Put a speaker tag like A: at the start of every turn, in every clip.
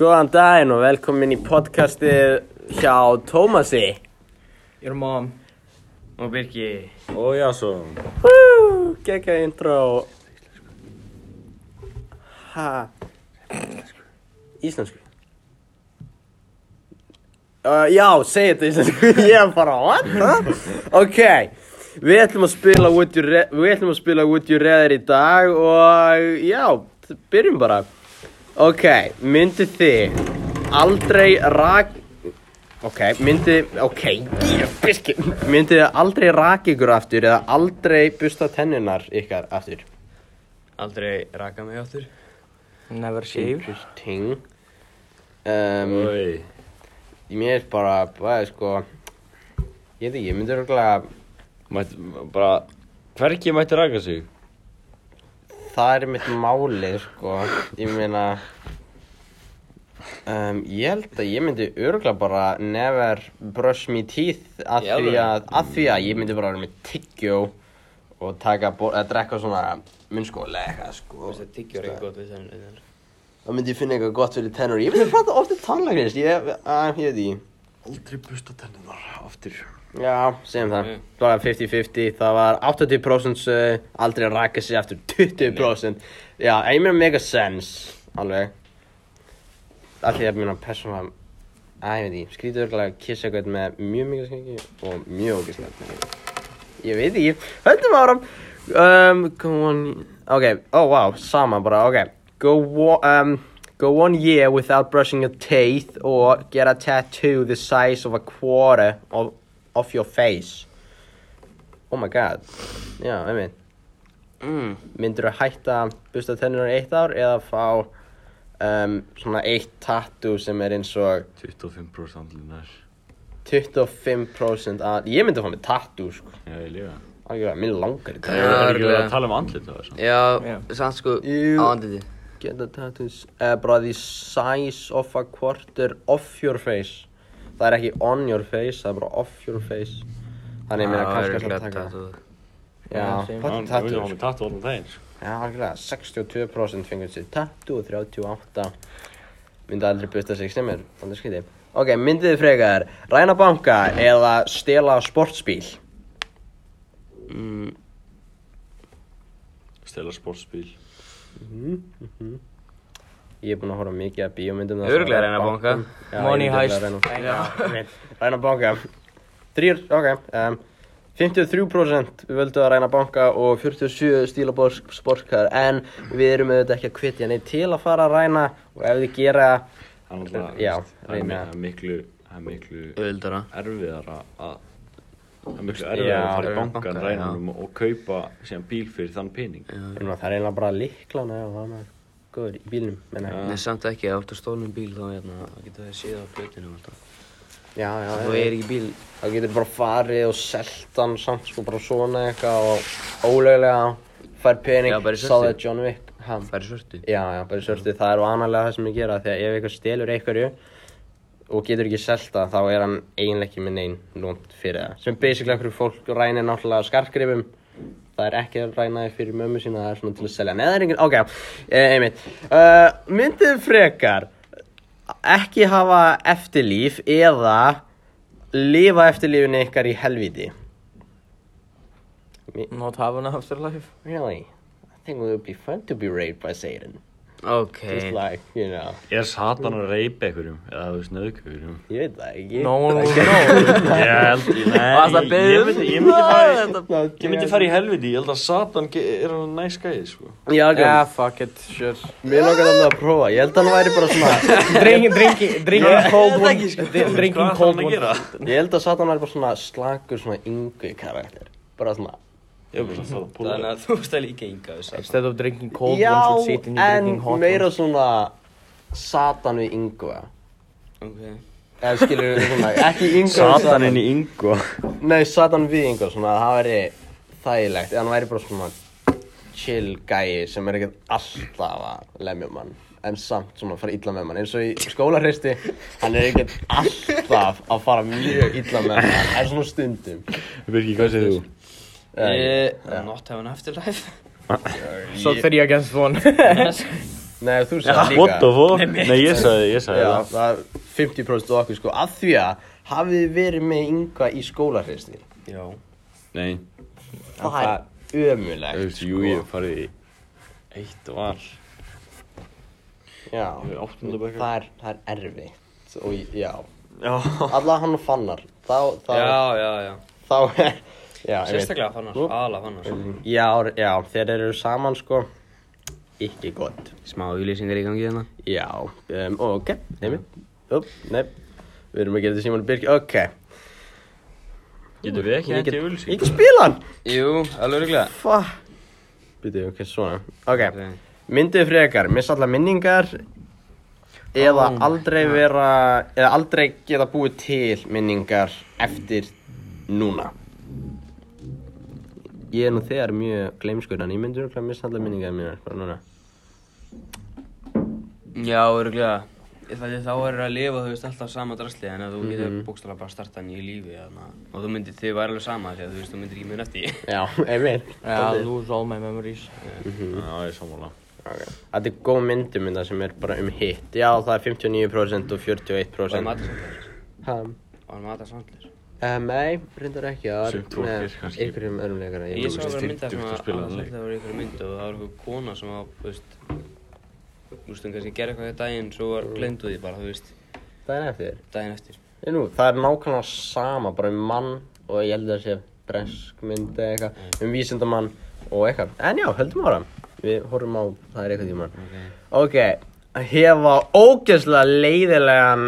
A: Góðan daginn og velkomin í podcastið hjá Tómasi
B: Your mom
A: og Birgi.
C: Og já, svo,
A: Hú, gegga intro. Ha. Íslensku. Uh, já, segi þetta íslensku. Ég er bara, what? Huh? Ok, við ætlum að spila Would You, Ra- við ætlum að spila Would You Rather í dag og já, t- byrjum bara. Ok, myndi þið aldrei rak... Ok, myndi... Ok, byrki. Myndi þið aldrei raka ykkur aftur eða aldrei busta tennunar ykkar aftur?
D: Aldrei raka mig áttur
B: Never shaved
A: Interesting. Um,
C: oi,
A: mér er bara, bara, sko... Ég veit ekki, ég myndi röglega...
C: mætti bara, hvergi mætti raka sig?
A: Það er mitt málið, sko. Ég meina... Um, ég held að ég myndi örgulega bara never brush me teeth að
C: Í
A: því
C: alvöru?
A: að, að því að ég myndi bara vera með tyggjó og taka, bó- eða drekka svona munnskóla eða eitthvað sko
D: Þetta tyggjur ekki gott við þennan þennan.
A: þá myndi ég finna eitthvað gott fyrir tennur ég myndi prata oft um tannlæknist ég, að, ég veit ekki
C: Aldrei busta tennunar aftur.
A: Já, segjum það.
D: Mm.
A: Það var 50-50, það var 80% uh, aldrei að raka sig aftur, 20%. Já, en ég meina mega sense, alveg. Allt því að ég meina persónulega, að ég veit ekki, skrítið örgulega að kissa eitthvað með mjög mikið skringi og mjög ógislega. Ég veit ekki, höndum áram. Um, go on, ok, oh wow, sama bara, ok. Go, wa- um, go one year without brushing your teeth or get a tattoo the size of a quarter of off your face oh my god já, einmitt
D: Mm.
A: myndur þú hætta að busta tennunar í eitt ár eða fá um, svona eitt tattoo sem er eins og
C: 25% andlunar.
A: 25% að ég myndi að fá með tattoo sko
C: Já, ég líka.
A: algjörlega, mér langar í
C: Það
A: tattoo
D: Já,
C: er ekki verið
D: örugglega.
C: að tala um andlut það var svona.
D: Já,
B: Já.
D: samt sko
A: Jú.
D: á andliti
A: get a tattoo uh, bara the size of a quarter off your face það er ekki on your face, það er bara off your face þannig ég meina
D: Ah,
A: kannski að taka
B: Já,
A: já,
B: same.
A: hvað
C: Já,
A: er
C: Ég myndi
A: tattoo
C: að hafa
A: sko?
C: með tattoo allan daginn, sko.
A: Já, algjörlega, 62% fengur sér tattoo og 38 myndi aldrei busta sig sem er, þannig skriði. Ok, myndið þið frekar, ræna banka eða stela sportsbíl?
D: mm,
C: Stela sportsbíl.
A: Ég er búinn að horfa mikið að bíómyndum það.
D: Örugglega ræna banka.
B: Money heist.
A: Ræna, ræna banka. Þrýr, ok. Um, 53% völdu að ræna banka og 47 stíla sportkar en við erum auðvitað ekki að hvetja neitt til að fara að ræna og ef þið gera
C: Það er náttúrulega,
A: Já,
C: veist, það er mi-
A: reyna.
C: það er miklu, það er miklu
D: Öldara
C: erfiðara að, það er miklu erfiðara
A: Já,
C: að fara í
D: reyna
C: bankan,
D: banka, já.
C: rænum og kaupa síðan bíl fyrir þann pening.
A: Nú, það er eiginlega bara líklan eða það er maður góður í bílnum, menna
D: Nei, samt ekki, ef þú áttu stólnum bíl þá hérna, þá getur það séð á plötinu og allt það.
A: Já, já,
D: Þú er ekki bíl
A: þá getur bara farið og selt hann samt sko bara svona eitthvað og óleglega fær pening,
D: Já, bara í
A: sá
D: svörtu.
A: það John Wick hann.
D: Það er svörtu
A: Já, já, bara í svörtu, það er vanalega það sem ég gera því að ef eitthvað stelur einhverju og getur ekki selt það, þá er hann eiginlega ekki með neinn lónt fyrir það sem basically okkur fólk rænir náttúrulega skartgrifum það er ekki að ræna þið fyrir mömmu sína það er svona til að selja, neða það er engin, ok eh, einmitt, uh, myndið frekar ekki hafa eftirlíf eða lifa eftirlífinu ykkar í helviti
B: Not have an afterlife
A: Really? I think it would be fun to be raped by Satan
D: Ok
A: Just like, you know
C: Er satan að reypa einhverjum, eða þú veist, nöðka einhverjum?
A: Ég veit það ekki
B: No one will know
C: Ég held, nei,
D: Varst að
C: ég-
D: biðja
C: ég
D: um?
C: myndi, ég myndi fara í,
A: No,
C: Ég myndi fara í helviti, ég held að Satan ge- er hann næs gæði, sko.
A: Já, ok
B: Yeah, fuck it, sure
A: Mér langar þannig að prófa Ég held að hann væri bara svona
B: Drinking, drinking, drinking cold one
D: sko.
C: Hvað
B: Drinking
C: ætlar
B: cold
C: hann að
B: one
C: gera?
A: Ég held að Satan væri bara svona slakur svona yngu karakter Bara svona
C: Ég er bara svona að púla.
D: Þannig að þú stæl ekki enga við satt
B: Instead of drinking cold
A: Já,
B: ones with Satan, you're
A: en
B: drinking hot
A: meira
B: ones
A: svona Satan við yngu
D: Ok
A: Eða skilur við svona Ekki yngu
C: í Ingo.
A: Nei, Satan við yngu svona Það væri þægilegt En hann væri bara svona chill gæi sem er ekkert alltaf að lemja mann en samt svona fara illa með mann eins og í skólarreisti hann er ekkert alltaf að fara mjög illa með mann en svona stundum
C: Birgi, hvað segir þú?
A: Eða ekki?
D: Eh, Not have an afterlife
B: So three against one
A: Nei, þú sagði líka
C: What the fuck? Nei, ég sagði, ég sagði
A: Já,
C: það
A: það er 50% og okkur sko Af því að hafið þið verið með yngva í skólarhristi
D: Já.
C: Nei,
A: Það er sko.
C: þú
A: ömulegt
C: veist, jú, ég hef farið í eitt og all
A: Já,
C: Ég er áttunda bekk.
A: það er, það er erfitt Og ég- já,
C: Já,
A: alla hann og fannar Þá, þá,
D: Já, já, já.
A: þá Já, ég veit.
D: Sérstaklega fannar,
A: Nú.
D: aðalega fannar.
A: Já, já, þeir eru saman sko Ekki gott
D: Smá auðlýsingar í gangi þarna.
A: Já, um, ok, nefnir Upp, nefn Við erum að gera þetta síman og byrki, ok
C: getur við ekki
A: Ég
C: hendi
A: get,
C: ulsing?
A: ég get spila hann
D: Jú, alveg reglega.
A: Fuck Býtu, ok, svona Ok, myndu frekar, missa allar minningar Eða
D: Oh my
A: aldrei vera Eða aldrei geta búið til minningar Eftir núna Ég er nú þegar mjög gleimskur En ég myndi nú að missa allar minningar mínar Bara núna
D: Já, örgulega. Þannig þá er að lifa, þú veist, alltaf sama drasli en að þú getur bókstala bara að starta nýju lífi þarna. og þú myndir, þið væri alveg sama því að þú veist, þú myndir ekki mun eftir því.
A: Já, einmitt
B: Já, lose all my memories.
C: Já, ég er sammála
A: okay. Þetta er góð myndum mynda sem er bara um hitt Já, það er 59% og
D: Og það er
A: 41%
D: matarsamlir.
A: Hann
D: Og það er matarsamlir.
A: Um, nei, reyndar ekki það
C: Sumt fólk
A: með
C: er kannski-
A: Einhverjum öðrum leikara
D: Ég sá
A: man ekki.
D: að vera mynda
C: fimmtugt
D: sem
C: að
D: að
C: spila þennan
D: annars
C: leik.
D: það var einhver mynd og það var einhver kona sem að, þú veist, þú veist, hún kannski gerði eitthvað í daginn, svo var gleymd úr því bara, þú veist,
A: Daginn eftir
D: daginn eftir.
A: Nei, nú, það er nákvæmlega sama bara um mann og ég held að það sé bresk mynd eða eitthvað um vísindamann og eitthvað en já, höldum ára við horfum á það er eitthvað tímann ok, hefa ógeðslega leiðilegan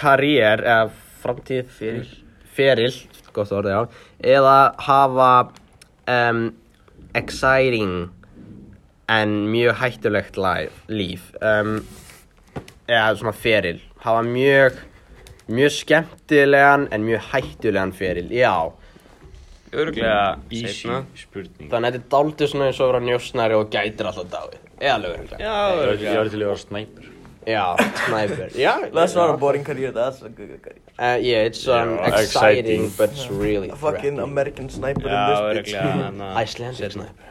A: karriér eða framtíð feril, gott orðið já eða hafa um, exciting en mjög hættulegt læf, líf um, eða svona feril hafa mjög mjög skemmtilegan en mjög hættulegan feril, já
D: Örgulega,
C: Easy
D: seinna.
C: spurning
A: þannig að þetta er dálítið svona eins og að vera njósnari og gætir alltaf dáið, eða alveg örugglega.
D: Já,
C: Ég var
D: örgulega.
C: ég var til að vera snæpur
A: já, snæpur já,
E: That's not a boring career, that's a good career.
A: uh, yeah, it's um,
C: Yeah,
A: exciting,
C: exciting.
A: but it's really
E: A fucking
A: threatening.
E: American sniper
D: Já,
E: in this
D: örgulega,
E: bitch.
D: hann
A: Icelandic sniper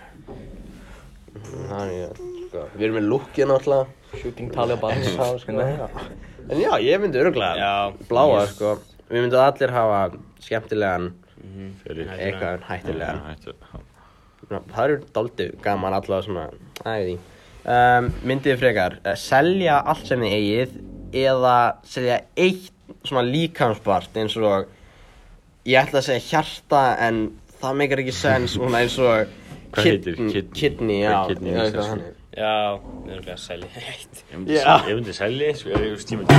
A: þannig að sko, við erum með lúkja náttúrulega
E: Shooting Taliban.
A: en sá, sko, já. en já, ég myndi öruglega
D: Já.
A: bláa, sko við myndum allir hafa skemmtilegan
C: Fyrir
A: eitthvað en hættulegan
C: Hættu
A: Ná, Það eru dálítið gaman allavega svona, æði um, Myndið þið frekar, eh, selja allt sem þið eigið eða selja eitt svona líkamspart eins og ég ætla að segja hjarta en það meikar ekki sens svona eins og
C: Hvað heitir?
A: kidn-
C: Kidney?
A: Kidney,
C: Hvað
A: já,
C: er kidney
A: já,
C: í
A: eitthvað
C: íslensku?
A: þannig.
D: Já, örgulega selja eitt.
C: Ég myndi
A: Já.
C: selja- ég myndi selja eins og ég veist, ég myndi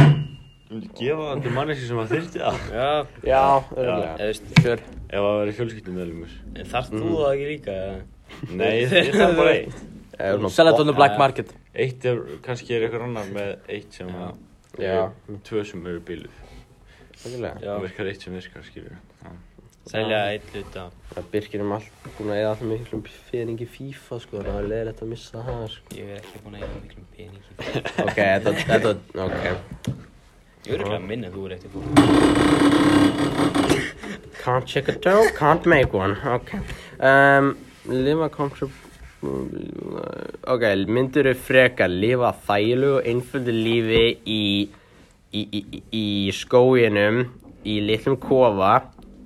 C: ég myndi gefa það til manneski sem að þyrfti það
D: Já,
A: Já,
D: eða
A: örugglega.
D: þú veist,
B: Sure.
C: ef það væri fjölskyldum meðlumur
D: þarf þú það ekki líka? eða?
C: Mm. nei, ég þarf bara eitt
A: Eh, svona
B: Sell it on
A: bo-
B: the black market.
C: eitt er, kannski er eitthvað annar með eitt sem að
A: Já.
C: eh, tvö sem eru bíluð
A: örugglega.
D: Já,
C: það virkar eitt sem virkar, skilur
D: selja eitt hluta.
A: Það byrkir um allt, búin að eða alltaf miklum feringi FIFA sko, það er leiðilegt að missa það sko
D: Ég er ekki búinn að eiga miklum pening í það.
A: Ok, þetta, þetta, ok
D: Ég er örgulega minna þú er eitt í fólk.
A: Can't check a toe, can't make one Ok um, Lifa comfortable Ok, myndur þau frekar lifa þælu og einföldu lífi í, í, í, í- í skóginum í litlum kofa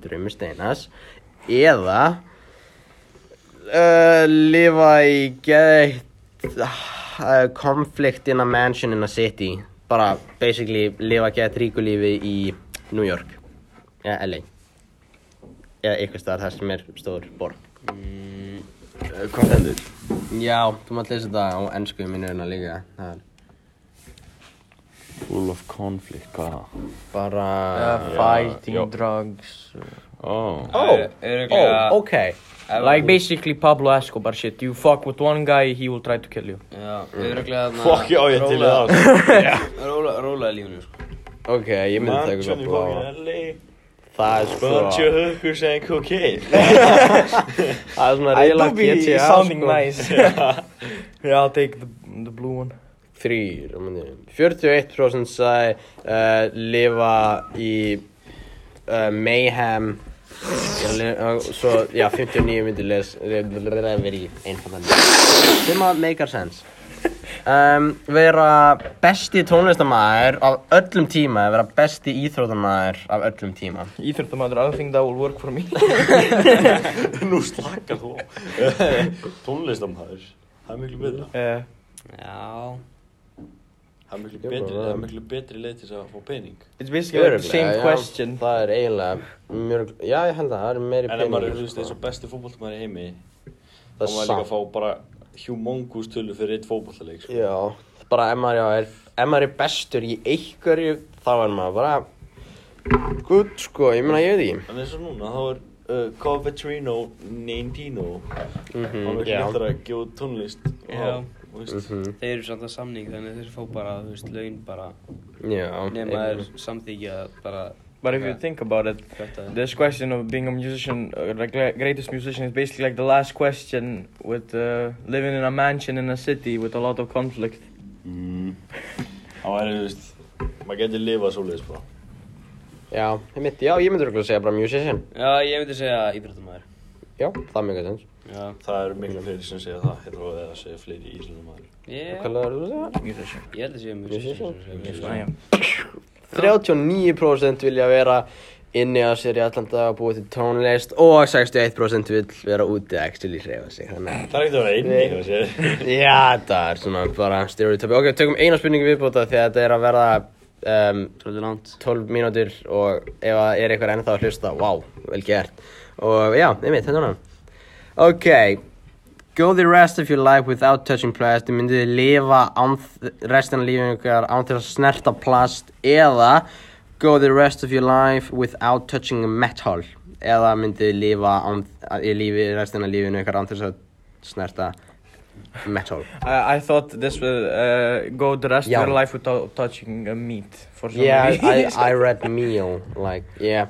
A: draumi steinas eða uh, lifa í geðeitt uh, conflict in a mansion in a city bara basically lifa geðeitt ríkulífi í New York eða LA eða eitthvað staðar þar sem er stór borg
D: Mm,
C: hvað fendur?
A: Já, þú mátt lesa þetta á ennsku mínu hérna líka það er
C: full of conflict, hvað?
A: bara
B: Uh,
C: já,
B: fighting
C: já.
B: drugs.
C: ó,
A: Oh,
D: Örugglega-
A: oh, ok
D: ef-
B: Like basically Pablo Escobar shit. You fuck with one guy, he will try to kill you.
D: Já, örgulega þarna...
C: fuck, já, ég til í það
D: Róla, róla lífinu, sko.
A: Ok, ég myndi taka
C: mansion
A: eitthvað
C: í
A: blá
C: fókin LA
A: Það er sko
C: bunch of hookers and cocaine
A: Það er svona
B: I
A: reyla
B: do be sounding
A: sko.
B: nice. yeah, I'll take the, the blue one.
A: Þrýr, um, 41% sagði uh, lifa í uh, mayhem Já, li- og Svo, já, 59 myndi les verið í einfaldan sem að make a sense um, vera besti tónlistamæður af öllum tíma vera besti íþrótamæður af öllum tíma
B: Íþjóttamæður, I don't think that will work for me
C: Nú slakar þú á. Tónlistamæður Það er miklu betra
B: uh,
D: Já,
C: Það er miklu
A: Ég
C: betri,
A: bara-
C: það er miklu betri leið til þess að fá pening
B: It's basically like the same
A: Örugglega,
B: question
A: já, það er eiginlega mjög já ég held að það er meiri
C: En ef maður er
A: peningur,
C: þú veist, eins og besti fótballtamaður í heimi
A: það
C: þá
A: er
C: maður líka
A: samt
C: að fá bara humongous tölu fyrir eitt fótballtaleik sko.
A: Já, bara ef maður, já, er, ef maður er bestur í einhverju, þá er maður bara gutt, sko, ég meina, ég veit ekki.
C: En eins og núna, þá er uh, Covetrino Nintino
A: Mhm,
C: hann er
A: já.
C: hlutur að gefa út tónlist og-
D: Já.
C: og veist,
A: Mhm,
D: þeir eru samt að samning þannig að þeir fá bara, þú veist, laun bara
A: Já.
D: nema þeir samþykja bara
B: But if you think about it
D: þetta
B: This question of being a musician, uh, like the greatest musician, is basically like the last question with uh, living in a mansion in a city with a lot of conflict.
A: Mhm.
C: Mm. Það væri, þú veist, maður getur lifað svoleiðis bara.
A: Já, ég myndi, já, ég myndi röglega segja bara musician.
D: Já, ég myndi segja íþróttamæður
A: Já, það er mjög sens.
D: Já,
C: Það eru miklu fleiri sem segja það, ég þróið að segja fleiri íslunum maður.
D: ég,
A: Hvað er það að segja?
B: Musician.
D: ég held að segja
A: Musician?
D: musician
A: 39% vilja vera inni á sér í allan dag að búið til tónlist og 61% vil vera úti að actually hreyfa sig. Þannig
C: Það er ekkert að vera einni,
A: Nei.
C: þú veist.
A: að, já, það er svona bara stereotypi. Ok, tökum eina spurningu viðbúta því að þetta er að verða um,
D: Svolítið langt
A: 12 mínútur og ef það er eitthvað ennþá að hlusta, vá, vel gert. Og já, einmitt, þetta er hann. Ok, go the rest of your life without touching plast, þið myndið þið lifa án þ- restina af lífinu ykkar án til að snerta plast eða go the rest of your life without touching metal eða myndið þið lifa án, í lífi, restina af lífinu ykkar án til að snerta metal.
B: I, I thought this would uh, go the rest
A: Yeah.
B: of your life without touching uh, meat for some
A: Yeah,
B: reason.
A: I, I read meal, like, yeah.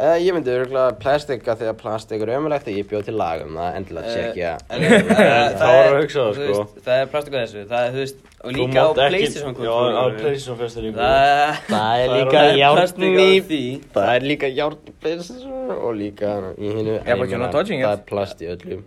A: Uh, ég myndi örgulega plastika þegar plastik er ömulegt og ég bjóð til lag um það, endilega tjekkja.
C: eh, Það var að hugsa það, sko.
D: Það er plastik á þessu, það er, þú veist, og
C: Þú
D: líka á
C: mátt ekki-
D: Playstation
C: Já, á
D: kontrólunum.
C: Playstation festivalinu.
D: Það
A: Það er
C: Það er
A: líka
C: orðið
A: járn
D: plastik á
A: í
D: því
A: Það er líka járn í plastik og líka í hinu.
B: Yeah, but you're not touching
A: Það
B: it.
A: er plast í öllu.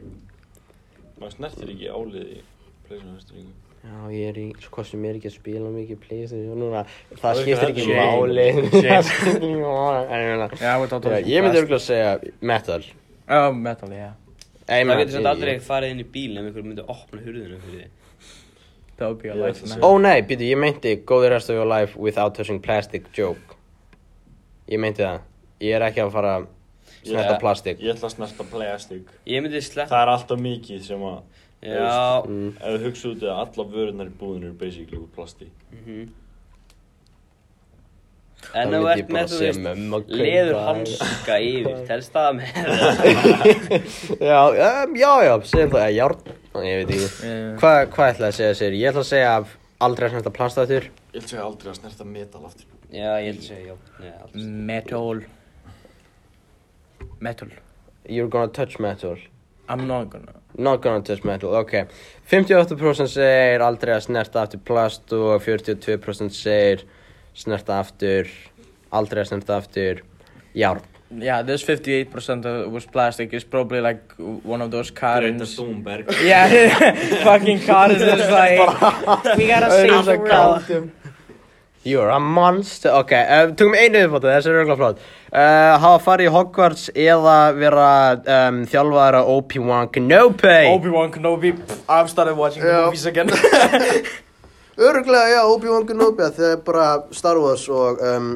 C: Maður snertir ekki álið í Playstation festivalinu.
A: Já, ég er í, svo hvað sem ég er ekki að spila mikið PlayStation núna,
C: Það
A: það
C: er
A: skiptir
C: ekki
A: ekki
C: heldur.
A: máli.
B: Shame.
A: Það skiptir ekki máli. En ég meina,
B: yeah, without
A: já,
B: touching
A: Ég myndi
B: plastic.
A: örgulega segja metal.
B: Oh, metal, yeah.
A: Eh, ég
D: Það
A: meina,
D: getur
A: ég-
D: þetta aldrei farið inn í bíl ef einhver myndi opna hurðinu fyrir þig.
B: That would be a
C: Yeah,
B: life
C: that's
B: man.
C: it.
A: Ó nei, býtu, ég meinti Go the rest of your life without touching plastic joke Ég meinti það Ég er ekki að fara að snerta
C: Ég-
A: plastik
C: Ég ætla að snerta plastik.
D: Ég myndi sleppa,
C: Það er alltaf mikið sem að,
D: já,
A: mm.
C: ef við hugsa út eða alla vörunar í búðinu eru basically úr plasti.
D: mhm.
A: Það
D: En ef þú
A: myndi ég
D: ert
A: bara
D: með, þú
A: segja mömmu að
D: veist,
A: kaupa
D: leður
A: þær.
D: hanska yfir, telst það með
A: Já, um, já, já, segjum það eh, Járn, ég veit ekki
B: Yeah.
A: Hvað hva ætlaði að segja sér? Ég ætla að segja af aldrei að snerta plast aftur
C: Ég ætla að segja aldrei að snerta metal aftur.
D: Já, ég held að segja, já, nei,
A: Mm,
D: aldrei.
B: Metal. Metal.
A: You're gonna touch metal
B: I'm not gonna.
A: Not gonna touch metal, ok 58% segir aldrei að snerta aftur plast og 42% segir snerta aftur aldrei að snerta aftur járn
B: Yeah, this 58% uh, was plastic is probably like one of those
C: Greta
B: cards.
C: Thunberg.
B: Yeah, fucking cards is like. we gotta save the world.
A: You're a monster, ok, uh, tökum einu viðbóta, þessi er auðvitað flott uh, Hafa farið í Hogwarts eða vera um, þjálfara Obi-Wan Kenobi
B: Obi-Wan Kenobi. pff, I've started watching the
A: Yeah.
B: movies again.
A: Öruglega, já, Obi-Wan Kenobi, það er bara Star Wars og um,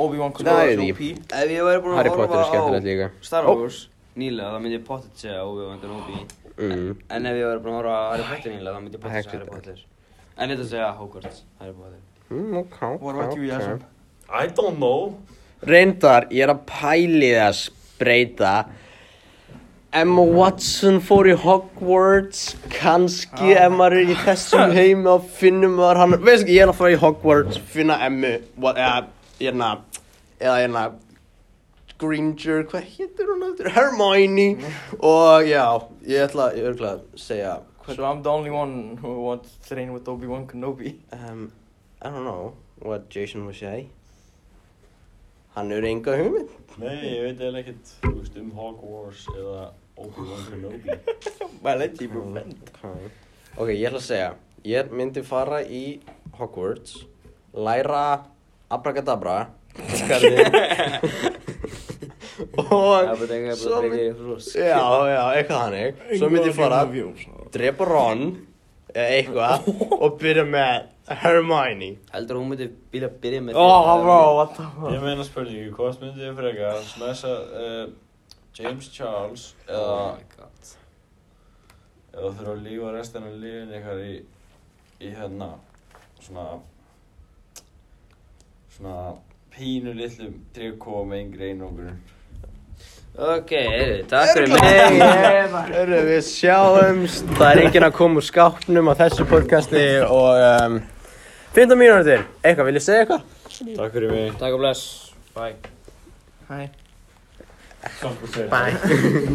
B: Obi-Wan
A: Nei,
B: Kenobi Oh.
A: ég
B: is OP.
D: Ef ég væri búin
A: Harry
D: að
A: Potter er
D: horfa
A: skemmtilegt líka
D: á Star Wars nýlega, þá myndi ég pottet segja Obi-Wan Kenobi.
A: mm.
D: En ef ég væri búin að horfa á Harry Potter nýlega, þá myndi ég pottet segja Harry
A: Hector.
D: Potter. En þetta segja Hogwarts, Harry Potter.
A: Mm, ok,
B: What about you,
A: ok.
B: Yasser?
C: I don't know.
A: Reyndar, ég er að pæli það að spreita Emma Watson fór í Hogwarts kannski ef maður er í þessum heimi og finnum maður hann veist ekki, ég er að fara í Hogwarts, finna Emmu what, eða, hérna eða, hérna Granger, hvað hétur hún aftur? Hermione og já, ég ætla ég ætla að segja
B: So I'm the only one who wants to train with Obi-Wan Kenobi.
A: um, I don't know what Jason would say hann er enga hugmynd
C: Nei, ég veit eða ekkert, þú veist, um Hogwarts eða Obi-Wan Kenobi.
B: Well, let's keep
A: Ok, ég ætla að segja Ég myndi fara í Hogwarts, læra Abracadabra, hvernig, og svo myndi, já, já, eitthvað hannig, svo myndi ég fara, drepa Ron, eða eitthvað, og byrja með Hermione.
D: Heldur að hún myndi byrja að byrja með
A: Oh, bro, what the fuck?
C: Ég meina spurningu, hvort myndið þið freka að smessa uh, James Charles eða
D: Oh my god.
C: eða þurfa að lífa restina af lífinu ykkar í, í hérna svona svona pínu litlum trikó með yngri einókunum
D: Ok, heyrðu, takk fyrir mig.
A: Hörru, við sjáumst, það er enginn að koma úr skápnum á þessu podcasti og um, 15 mínútur, eitthvað, vil ég segja eitthvað?
C: Takk fyrir mig
D: Takk og bless. Bye.
B: Hæ.
C: Takk fyrir mig
A: Bye.